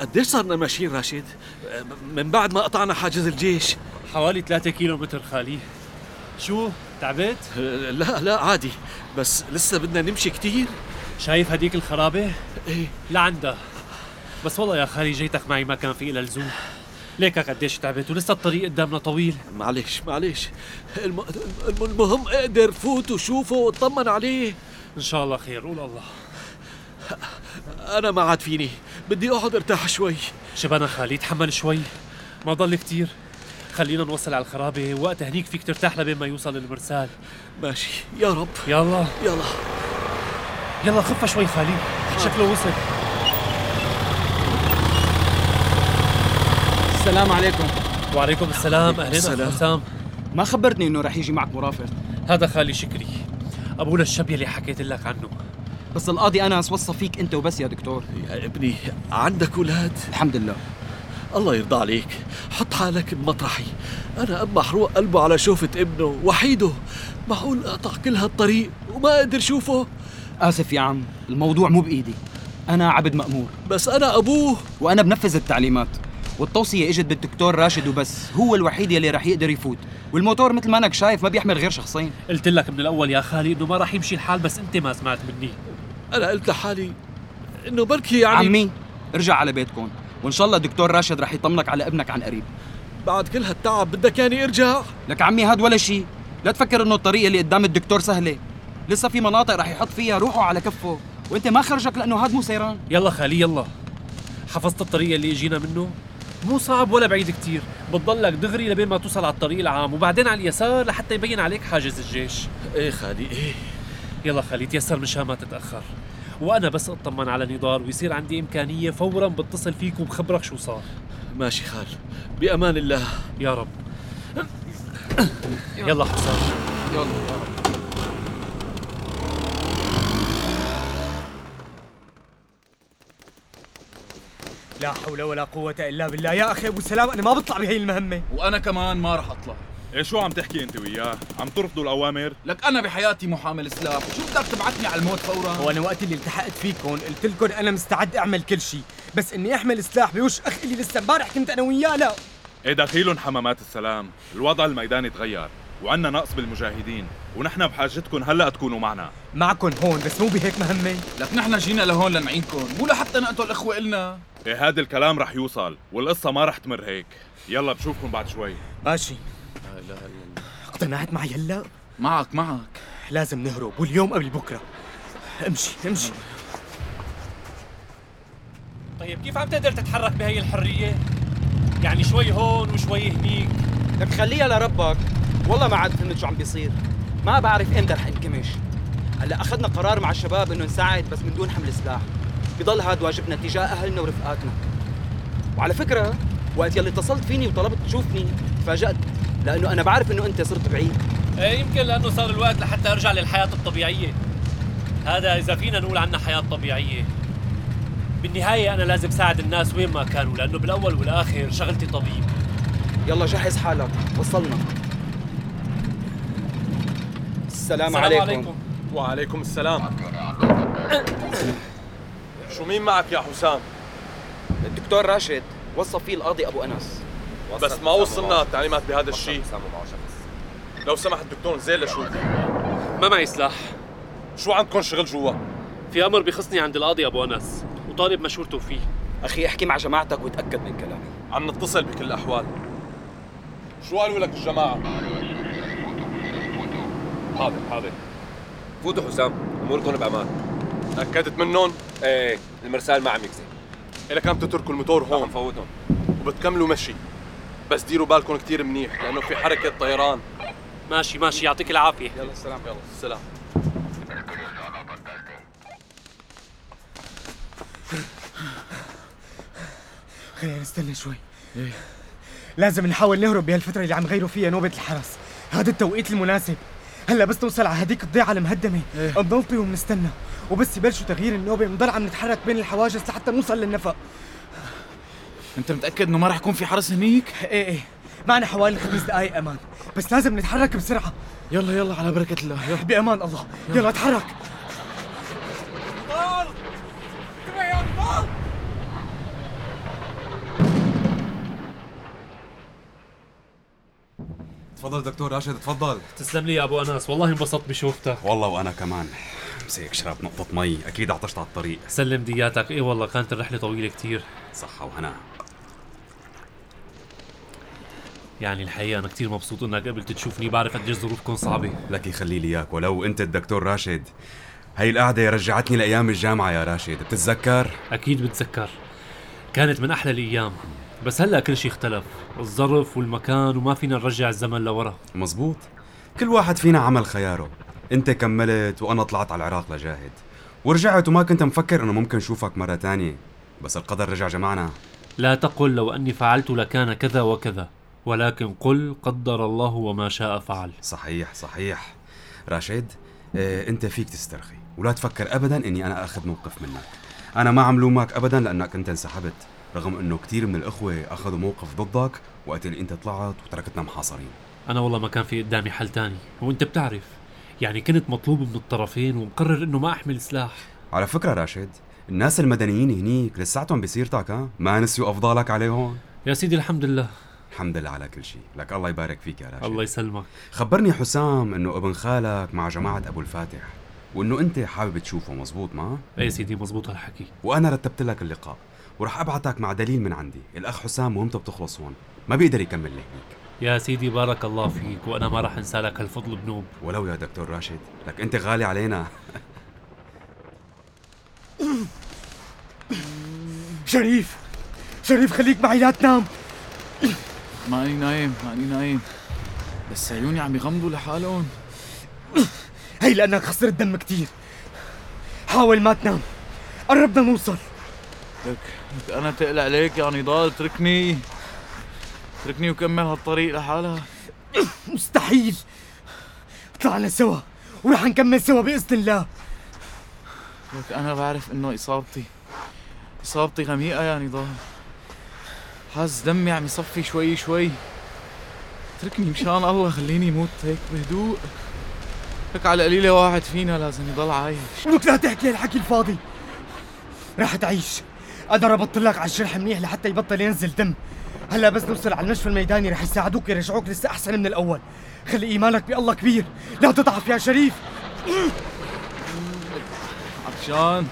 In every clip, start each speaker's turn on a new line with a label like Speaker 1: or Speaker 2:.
Speaker 1: قديش صرنا ماشيين راشد؟ من بعد ما قطعنا حاجز الجيش
Speaker 2: حوالي 3 كيلو متر خالي شو تعبت؟
Speaker 1: لا لا عادي بس لسه بدنا نمشي كتير
Speaker 2: شايف هديك الخرابة؟
Speaker 1: ايه
Speaker 2: لعندها بس والله يا خالي جيتك معي ما كان في إلا لزوم ليكك قديش تعبت ولسه الطريق قدامنا طويل
Speaker 1: معلش معلش الم... الم- المهم اقدر فوت وشوفه واطمن عليه
Speaker 2: إن شاء الله خير قول الله
Speaker 1: انا ما عاد فيني بدي اقعد ارتاح شوي
Speaker 2: شبانا خالي تحمل شوي ما ضل كتير خلينا نوصل على الخرابة وقت هنيك فيك ترتاح لبين ما يوصل المرسال
Speaker 1: ماشي يا رب
Speaker 2: يلا
Speaker 1: يلا
Speaker 2: يلا خفة شوي خالي شكله وصل
Speaker 3: السلام عليكم
Speaker 2: وعليكم السلام أهلين أخ
Speaker 1: السلام.
Speaker 2: حسام
Speaker 3: ما خبرتني انه رح يجي معك مرافق
Speaker 2: هذا خالي شكري أبو للشبي اللي حكيت لك عنه
Speaker 3: بس القاضي انس وصى فيك انت وبس يا دكتور
Speaker 1: يا ابني عندك اولاد
Speaker 3: الحمد لله
Speaker 1: الله يرضى عليك حط حالك بمطرحي انا اب محروق قلبه على شوفة ابنه وحيده معقول اقطع كل هالطريق وما اقدر اشوفه
Speaker 3: اسف يا عم الموضوع مو بايدي انا عبد مامور
Speaker 1: بس انا ابوه
Speaker 3: وانا بنفذ التعليمات والتوصيه اجت بالدكتور راشد وبس هو الوحيد يلي رح يقدر يفوت والموتور مثل ما انك شايف ما بيحمل غير شخصين
Speaker 2: قلت لك من الأول يا خالي إنه ما راح يمشي الحال بس أنت ما سمعت مني
Speaker 1: انا قلت لحالي انه بركي يعني
Speaker 3: عمي ارجع على بيتكم وان شاء الله الدكتور راشد رح يطمنك على ابنك عن قريب
Speaker 1: بعد كل هالتعب بدك يعني ارجع
Speaker 3: لك عمي هاد ولا شيء لا تفكر انه الطريق اللي قدام الدكتور سهله لسه في مناطق رح يحط فيها روحه على كفه وانت ما خرجك لانه هاد مو سيران
Speaker 2: يلا خالي يلا حفظت الطريق اللي اجينا منه مو صعب ولا بعيد كتير بتضلك دغري لبين ما توصل على الطريق العام وبعدين على اليسار لحتى يبين عليك حاجز الجيش
Speaker 1: ايه خالي ايه
Speaker 2: يلا خالي تيسر مشان ما تتأخر وأنا بس أطمن على نضال ويصير عندي إمكانية فورا بتصل فيك وبخبرك شو صار
Speaker 1: ماشي خال بامان الله
Speaker 2: يا رب يلا حسام
Speaker 3: يلا
Speaker 4: لا حول ولا قوة إلا بالله يا أخي أبو سلام أنا ما بطلع بهي المهمة
Speaker 5: وانا كمان ما رح اطلع
Speaker 6: إيه شو عم تحكي انت وياه؟ عم ترفضوا الاوامر؟
Speaker 5: لك انا بحياتي محامل سلاح شو بدك تبعتني على الموت فورا
Speaker 4: وأنا وقت اللي التحقت فيكم قلت لكم أنا مستعد أعمل كل شيء بس إني أحمل سلاح بوش أخ اللي لسه امبارح كنت أنا وياه لا
Speaker 6: ايه دخيلهم حمامات السلام، الوضع الميداني تغير، وعنا نقص بالمجاهدين، ونحن بحاجتكم هلا تكونوا معنا.
Speaker 4: معكم هون بس مو بهيك مهمة
Speaker 5: لك نحن جينا لهون لنعينكم مو لحتى نقتل اخوه النا
Speaker 6: ايه هذا الكلام رح يوصل، والقصة ما رح تمر هيك. يلا بشوفكم بعد شوي.
Speaker 4: ماشي اقتنعت معي هلا
Speaker 5: معك معك
Speaker 4: لازم نهرب واليوم قبل بكرة امشي امشي
Speaker 2: طيب كيف عم تقدر تتحرك بهي الحرية؟ يعني شوي هون وشوي هنيك
Speaker 3: لك خليها لربك والله ما عاد فهمت شو عم بيصير ما بعرف امتى رح انكمش هلا اخذنا قرار مع الشباب انه نساعد بس من دون حمل سلاح بضل هاد واجبنا تجاه اهلنا ورفقاتنا وعلى فكره وقت يلي اتصلت فيني وطلبت تشوفني تفاجأت لانه انا بعرف انه انت صرت بعيد
Speaker 2: ايه يمكن لانه صار الوقت لحتى ارجع للحياه الطبيعيه هذا اذا فينا نقول عنها حياه طبيعيه بالنهايه انا لازم ساعد الناس وين ما كانوا لانه بالاول والاخر شغلتي طبيب
Speaker 3: يلا جهز حالك وصلنا السلام,
Speaker 7: وعليكم السلام شو مين معك يا حسام؟
Speaker 3: الدكتور راشد وصف فيه القاضي ابو انس
Speaker 7: بس ما وصلنا التعليمات بهذا الشيء لو سمح الدكتور نزيل لشو
Speaker 2: ما معي سلاح
Speaker 7: شو عندكم شغل جوا؟
Speaker 2: في امر بخصني عند القاضي ابو انس وطالب مشورته فيه
Speaker 3: اخي احكي مع جماعتك وتاكد من كلامي
Speaker 7: عم نتصل بكل الاحوال شو قالوا لك الجماعة؟ حاضر حاضر
Speaker 8: فوتوا حسام اموركم بامان
Speaker 7: أكدت منهم
Speaker 8: ايه المرسال ما عم يكذب
Speaker 7: إلك عم تتركوا الموتور
Speaker 8: ما عم
Speaker 7: هون
Speaker 8: فوتهم
Speaker 7: وبتكملوا مشي بس ديروا بالكم كتير منيح لأنه في حركة طيران
Speaker 2: ماشي ماشي يعطيك العافيه
Speaker 7: يلا السلام يلا السلام
Speaker 4: خلينا نستنى إيه، شوي لازم نحاول نهرب بهالفترة اللي عم غيروا فيها نوبة الحرس هذا التوقيت المناسب هلا بس نوصل على هديك الضيعة المهدمة
Speaker 5: إيه.
Speaker 4: بنلطي وبنستنى وبس يبلشوا تغيير النوبة بنضل عم نتحرك بين الحواجز لحتى نوصل للنفق
Speaker 5: انت متاكد انه ما رح يكون في حرس هنيك
Speaker 4: ايه ايه معنا حوالي خمس دقايق امان بس لازم نتحرك بسرعة
Speaker 5: يلا يلا على بركه الله يلا
Speaker 4: بأمان الله
Speaker 5: إيه.
Speaker 4: يلا اتحرك
Speaker 9: تفضل دكتور راشد تفضل
Speaker 2: تسلم لي يا ابو انس والله انبسطت بشوفتك
Speaker 9: والله وانا كمان مسيك شرب نقطة مي اكيد عطشت على الطريق
Speaker 2: سلم دياتك ايه والله كانت الرحله طويله كتير
Speaker 9: صحة وهنا
Speaker 2: يعني الحقيقه انا كتير مبسوط انك قبلت تشوفني بعرف قديش ظروفكم صعبه
Speaker 9: لك يخلي لي اياك ولو انت الدكتور راشد هاي القعدة رجعتني لأيام الجامعة يا راشد بتتذكر؟
Speaker 2: اكيد بتذكر كانت من احلى الايام بس هلا كل شيء اختلف الظرف والمكان وما فينا نرجع الزمن لورا
Speaker 9: مزبوط كل واحد فينا عمل خياره انت كملت وانا طلعت على العراق لجاهد ورجعت وما كنت مفكر انه ممكن شوفك مرة تانية بس القدر رجع جمعنا
Speaker 2: لا تقل لو اني فعلت لكان كذا وكذا ولكن قل قدر الله وما شاء فعل
Speaker 9: صحيح صحيح راشد اه انت فيك تسترخي ولا تفكر ابدا اني انا اخذ موقف منك انا ما عم لومك ابدا لانك انت انسحبت رغم انه كثير من الاخوه اخذوا موقف ضدك وقت اللي انت طلعت وتركتنا محاصرين
Speaker 2: انا والله ما كان في قدامي حل تاني وانت بتعرف يعني كنت مطلوب من الطرفين ومقرر انه ما احمل سلاح
Speaker 9: على فكره راشد الناس المدنيين هنيك لساتهم بسيرتك ها ما نسيوا افضالك عليهم
Speaker 2: يا سيدي الحمد لله
Speaker 9: الحمد لله على كل شيء لك الله يبارك فيك يا راشد
Speaker 2: الله يسلمك
Speaker 9: خبرني حسام انه ابن خالك مع جماعه ابو الفاتح وانه انت حابب تشوفه مزبوط ما
Speaker 2: اي سيدي مزبوط هالحكي
Speaker 9: وانا رتبت لك اللقاء ورح ابعتك مع دليل من عندي الاخ حسام مهمته بتخلص هون ما بيقدر يكمل لي هنيك
Speaker 2: يا سيدي بارك الله فيك وانا ما راح انسى لك هالفضل بنوب
Speaker 9: ولو يا دكتور راشد لك انت غالي علينا
Speaker 4: شريف شريف خليك معي لا تنام
Speaker 5: ماني نايم ماني نايم بس عيوني عم يغمضوا لحالهم
Speaker 4: هي لأنك خسرت دم كتير حاول ما تنام قربنا نوصل
Speaker 5: لك انا تقلق عليك يا نضال اتركني اتركني وكمل هالطريق لحالها
Speaker 4: مستحيل طلعنا سوا ورح نكمل سوا بإذن الله
Speaker 5: لك انا بعرف انه اصابتي اصابتي غميقه يا نضال يعني حاس دمي عم يصفي شوي شوي اتركني مشان الله خليني موت هيك بهدوء لك على قليله واحد فينا لازم يضل عايش
Speaker 4: ولك لا تحكي هالحكي الفاضي رح تعيش أنا ربطت لك على الجرح منيح لحتى يبطل ينزل دم هلا بس نوصل على المشفى الميداني رح يساعدوك يرجعوك لسه أحسن من الأول خلي إيمانك بالله كبير لا تضعف يا شريف
Speaker 5: عطشان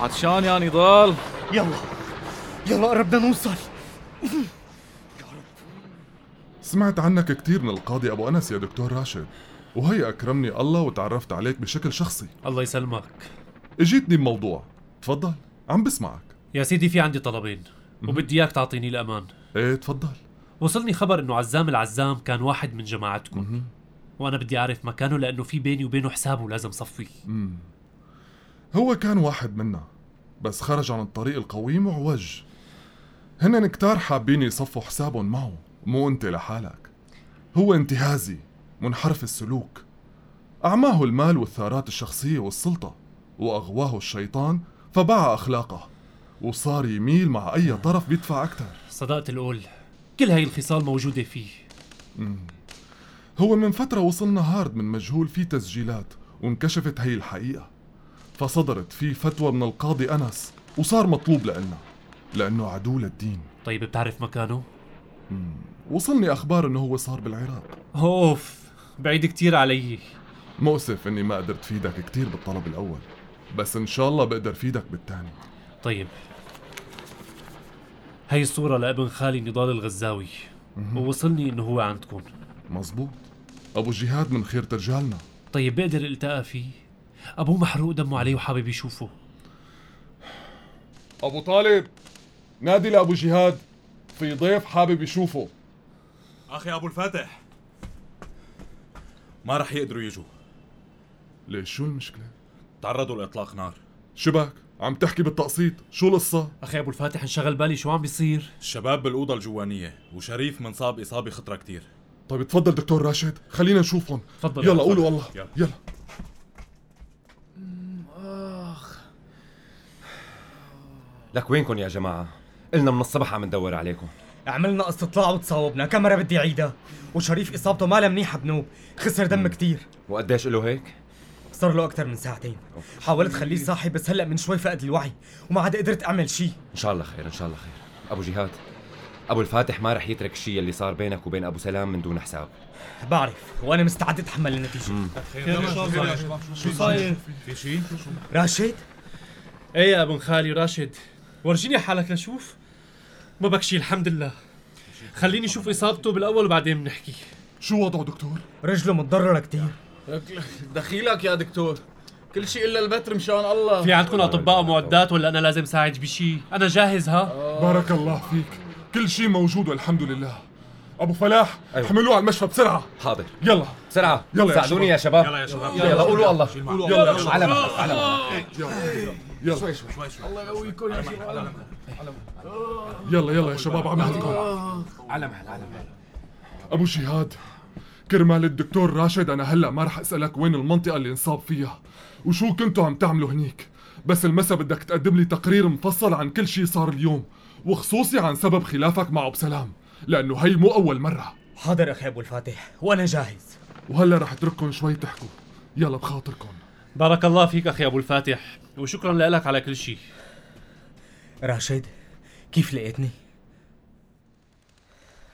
Speaker 5: عطشان يا نضال
Speaker 4: يلا يلا قربنا نوصل
Speaker 10: سمعت عنك كتير من القاضي أبو أنس يا دكتور راشد وهي أكرمني الله وتعرفت عليك بشكل شخصي
Speaker 2: الله يسلمك
Speaker 10: إجيتني بموضوع تفضل عم بسمعك
Speaker 2: يا سيدي في عندي طلبين وبدي اياك تعطيني الامان
Speaker 10: إيه تفضل
Speaker 2: وصلني خبر انه عزام العزام كان واحد من جماعتكم وانا بدي اعرف مكانه لانه في بيني وبينه حساب ولازم صفيه
Speaker 10: هو كان واحد منا بس خرج عن الطريق القويم وعوج هن كتار حابين يصفوا حسابهم معه مو انت لحالك هو انتهازي منحرف السلوك أعماه المال والثارات الشخصية والسلطة وأغواه الشيطان فباع أخلاقه وصار يميل مع أي طرف بيدفع أكثر
Speaker 2: صدقت القول كل هاي الخصال موجوده فيه
Speaker 10: هو من فترة وصلنا هارد من مجهول فيه تسجيلات وانكشفت هي الحقيقة فصدرت فيه فتوى من القاضي أنس وصار مطلوب لإلنا لأنه عدو للدين
Speaker 2: طيب بتعرف مكانه
Speaker 10: وصلني أخبار إنه هو صار بالعراق
Speaker 2: اوف بعيد كتير علي
Speaker 10: مؤسف إني ما قدرت فيدك كتير بالطلب الأول بس إن شاء الله بقدر فيدك بالتاني
Speaker 2: طيب هاي الصورة لابن خالي نضال الغزاوي ووصلني انه هو عندكم
Speaker 10: مزبوط أبو جهاد من خيرة رجالنا
Speaker 2: طيب بقدر التقى فيه ابوه محروق دمه عليه وحابب يشوفه
Speaker 10: أبو طالب نادي لأبو جهاد في ضيف حابب يشوفه
Speaker 6: اخي ابو الفاتح ما رح يقدروا يجوا
Speaker 10: ليش شو المشكلة؟
Speaker 6: تعرضوا لاطلاق نار
Speaker 10: شبك عم تحكي بالتقسيط شو القصة؟
Speaker 2: اخي ابو الفاتح انشغل بالي شو عم بيصير
Speaker 6: الشباب بالاوضه الجوانيه وشريف منصاب اصابه خطره كتير
Speaker 10: طيب تفضل دكتور راشد خلينا نشوفهم
Speaker 2: تفضل
Speaker 10: يلا قولوا والله
Speaker 6: يلا.
Speaker 10: يلا
Speaker 8: لك وينكم يا جماعة؟ قلنا من الصبح عم ندور عليكم
Speaker 4: عملنا استطلاع وتصاوبنا كم مرة بدي أعيدها وشريف إصابته مالها منيحة بنوب خسر دم كتير
Speaker 8: وقديش له هيك؟
Speaker 4: صار له أكثر من ساعتين حاولت خليه صاحي بس هلأ من شوي فقد الوعي وما عاد قدرت أعمل شيء
Speaker 8: إن شاء الله خير إن شاء الله خير أبو جهاد ابو الفاتح ما رح يترك الشيء اللي صار بينك وبين ابو سلام من دون حساب
Speaker 4: بعرف وانا مستعد اتحمل النتيجه
Speaker 11: شو صاير؟ في شيء؟
Speaker 4: راشد
Speaker 2: إيه
Speaker 11: ايه يا ابن خالي راشد ورجيني حالك لشوف ما بكشي الحمد لله خليني اشوف اصابته بالاول وبعدين بنحكي
Speaker 10: شو وضعه دكتور؟
Speaker 4: رجله متضرره كثير
Speaker 5: دخيلك يا دكتور كل شيء الا البتر مشان الله
Speaker 2: في عندكم اطباء ومعدات ولا انا لازم ساعد بشي؟ انا جاهز ها؟
Speaker 10: بارك الله فيك كل شيء موجود والحمد لله ابو فلاح أيوة. حملوه على المشفى بسرعه
Speaker 8: حاضر
Speaker 10: يلا
Speaker 8: بسرعه
Speaker 10: يلا يا
Speaker 8: ساعدوني يا شباب يلا يا شباب يلا قولوا الله قولوا على مهلك على مهلك
Speaker 10: يلا شوي
Speaker 5: شوي شوي الله يقويكم يا شباب على مهلك
Speaker 10: يلا يلا يا شباب على مهلكم
Speaker 5: على مهلك على مهلك
Speaker 10: ابو شهاد كرمال الدكتور راشد انا هلا ما رح اسالك وين المنطقه اللي انصاب فيها وشو كنتوا عم تعملوا هنيك بس المسا بدك تقدم لي تقرير مفصل عن كل شيء صار اليوم وخصوصي عن سبب خلافك مع ابو سلام لانه هي مو اول مره
Speaker 4: حاضر اخي ابو الفاتح وانا جاهز
Speaker 10: وهلا رح اترككم شوي تحكوا يلا بخاطركم
Speaker 2: بارك الله فيك اخي ابو الفاتح وشكرا لك على كل شيء
Speaker 4: راشد كيف لقيتني؟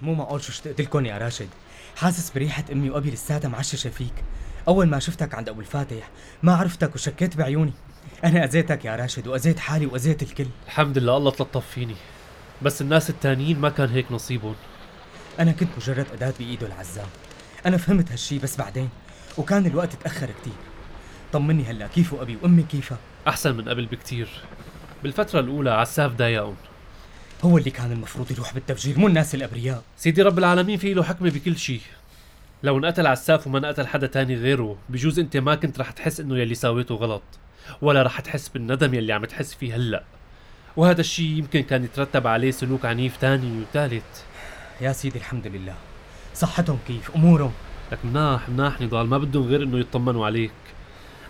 Speaker 4: مو معقول شو اشتقت لكم يا راشد حاسس بريحة امي وابي لساتها معششة فيك اول ما شفتك عند ابو الفاتح ما عرفتك وشكيت بعيوني انا اذيتك يا راشد واذيت حالي واذيت الكل
Speaker 2: الحمد لله الله تلطف فيني بس الناس التانيين ما كان هيك نصيبهم
Speaker 4: انا كنت مجرد اداة بايده العزام انا فهمت هالشي بس بعدين وكان الوقت تاخر كتير طمني هلا كيف وابي وامي كيفها
Speaker 2: احسن من قبل بكتير بالفترة الأولى عساف ضايقهم
Speaker 4: هو اللي كان المفروض يروح بالتفجير مو الناس الابرياء
Speaker 2: سيدي رب العالمين في له حكمة بكل شيء لو انقتل عساف وما انقتل حدا تاني غيره بجوز انت ما كنت رح تحس انه يلي ساويته غلط ولا رح تحس بالندم يلي عم تحس فيه هلا وهذا الشيء يمكن كان يترتب عليه سلوك عنيف تاني وثالث
Speaker 4: يا سيدي الحمد لله صحتهم كيف امورهم
Speaker 2: لك مناح مناح نضال ما بدهم غير انه يطمنوا عليك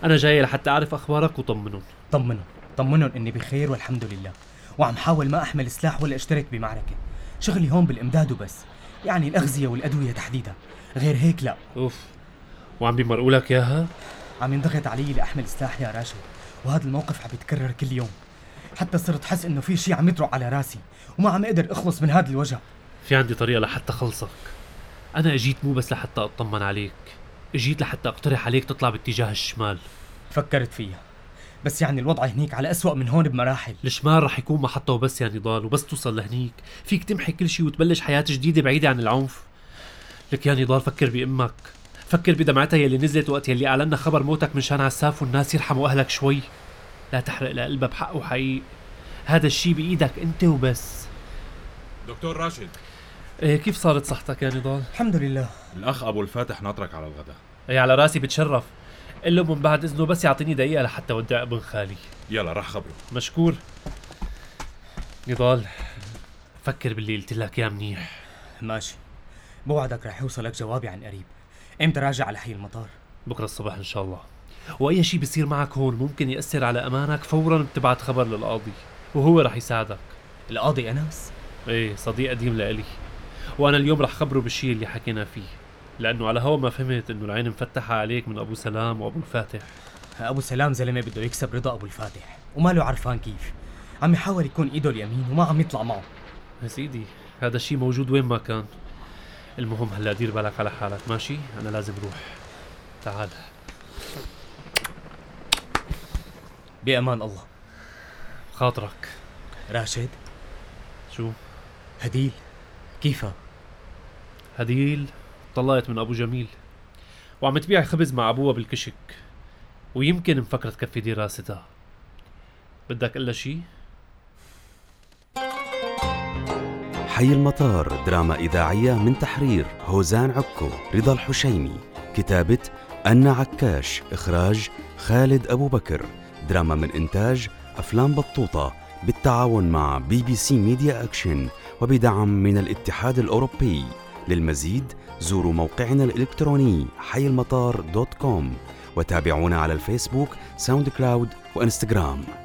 Speaker 2: انا جاي لحتى اعرف اخبارك وطمنهم
Speaker 4: طمنهم طمنهم اني بخير والحمد لله وعم حاول ما احمل سلاح ولا اشترك بمعركه شغلي هون بالامداد وبس يعني الاغذيه والادويه تحديدا غير هيك لا
Speaker 2: اوف وعم بيمرقوا لك اياها
Speaker 4: عم ينضغط علي لاحمل سلاح يا راشد وهذا الموقف عم يتكرر كل يوم حتى صرت حس انه في شيء عم يطرق على راسي وما عم اقدر اخلص من هذا الوجع
Speaker 2: في عندي طريقه لحتى خلصك انا اجيت مو بس لحتى اطمن عليك اجيت لحتى اقترح عليك تطلع باتجاه الشمال
Speaker 4: فكرت فيها بس يعني الوضع هنيك على أسوأ من هون بمراحل
Speaker 2: الشمال رح يكون محطة وبس يا نضال وبس توصل لهنيك فيك تمحي كل شيء وتبلش حياة جديدة بعيدة عن العنف لك يا نضال فكر بأمك فكر بدمعتها يلي نزلت وقت يلي أعلنا خبر موتك من شان عساف والناس يرحموا أهلك شوي لا تحرق لقلبها بحق وحقيق هذا الشيء بإيدك أنت وبس
Speaker 6: دكتور راشد
Speaker 2: إيه كيف صارت صحتك يا نضال؟
Speaker 4: الحمد لله
Speaker 6: الاخ ابو الفاتح ناطرك على الغداء
Speaker 2: إيه على راسي بتشرف قل له من بعد اذنه بس يعطيني دقيقه لحتى ودع ابن خالي
Speaker 6: يلا راح خبره
Speaker 2: مشكور نضال فكر باللي قلت لك يا منيح
Speaker 4: ماشي بوعدك رح يوصلك جوابي عن قريب امتى راجع على حي المطار
Speaker 2: بكره الصبح ان شاء الله واي شيء بيصير معك هون ممكن ياثر على امانك فورا بتبعت خبر للقاضي وهو رح يساعدك
Speaker 4: القاضي انس
Speaker 2: ايه صديق قديم لإلي وانا اليوم رح خبره بالشيء اللي حكينا فيه لانه على هوا ما فهمت انه العين مفتحه عليك من ابو سلام وابو الفاتح
Speaker 4: ابو سلام زلمه بده يكسب رضا ابو الفاتح وماله عرفان كيف عم يحاول يكون ايده اليمين وما عم يطلع معه
Speaker 2: يا سيدي هذا الشيء موجود وين ما كان المهم هلا دير بالك على حالك ماشي انا لازم روح تعال
Speaker 4: بامان الله
Speaker 2: خاطرك
Speaker 4: راشد
Speaker 2: شو
Speaker 4: هديل كيفها
Speaker 2: هديل طلقت من ابو جميل وعم تبيع خبز مع ابوها بالكشك ويمكن مفكرة تكفي دراستها بدك الا شي؟
Speaker 12: حي المطار دراما إذاعية من تحرير هوزان عكو رضا الحشيمي كتابة أنا عكاش إخراج خالد أبو بكر دراما من إنتاج أفلام بطوطة بالتعاون مع بي بي سي ميديا أكشن وبدعم من الاتحاد الأوروبي للمزيد زوروا موقعنا الإلكتروني حي المطار دوت كوم وتابعونا على الفيسبوك ساوند كلاود وإنستغرام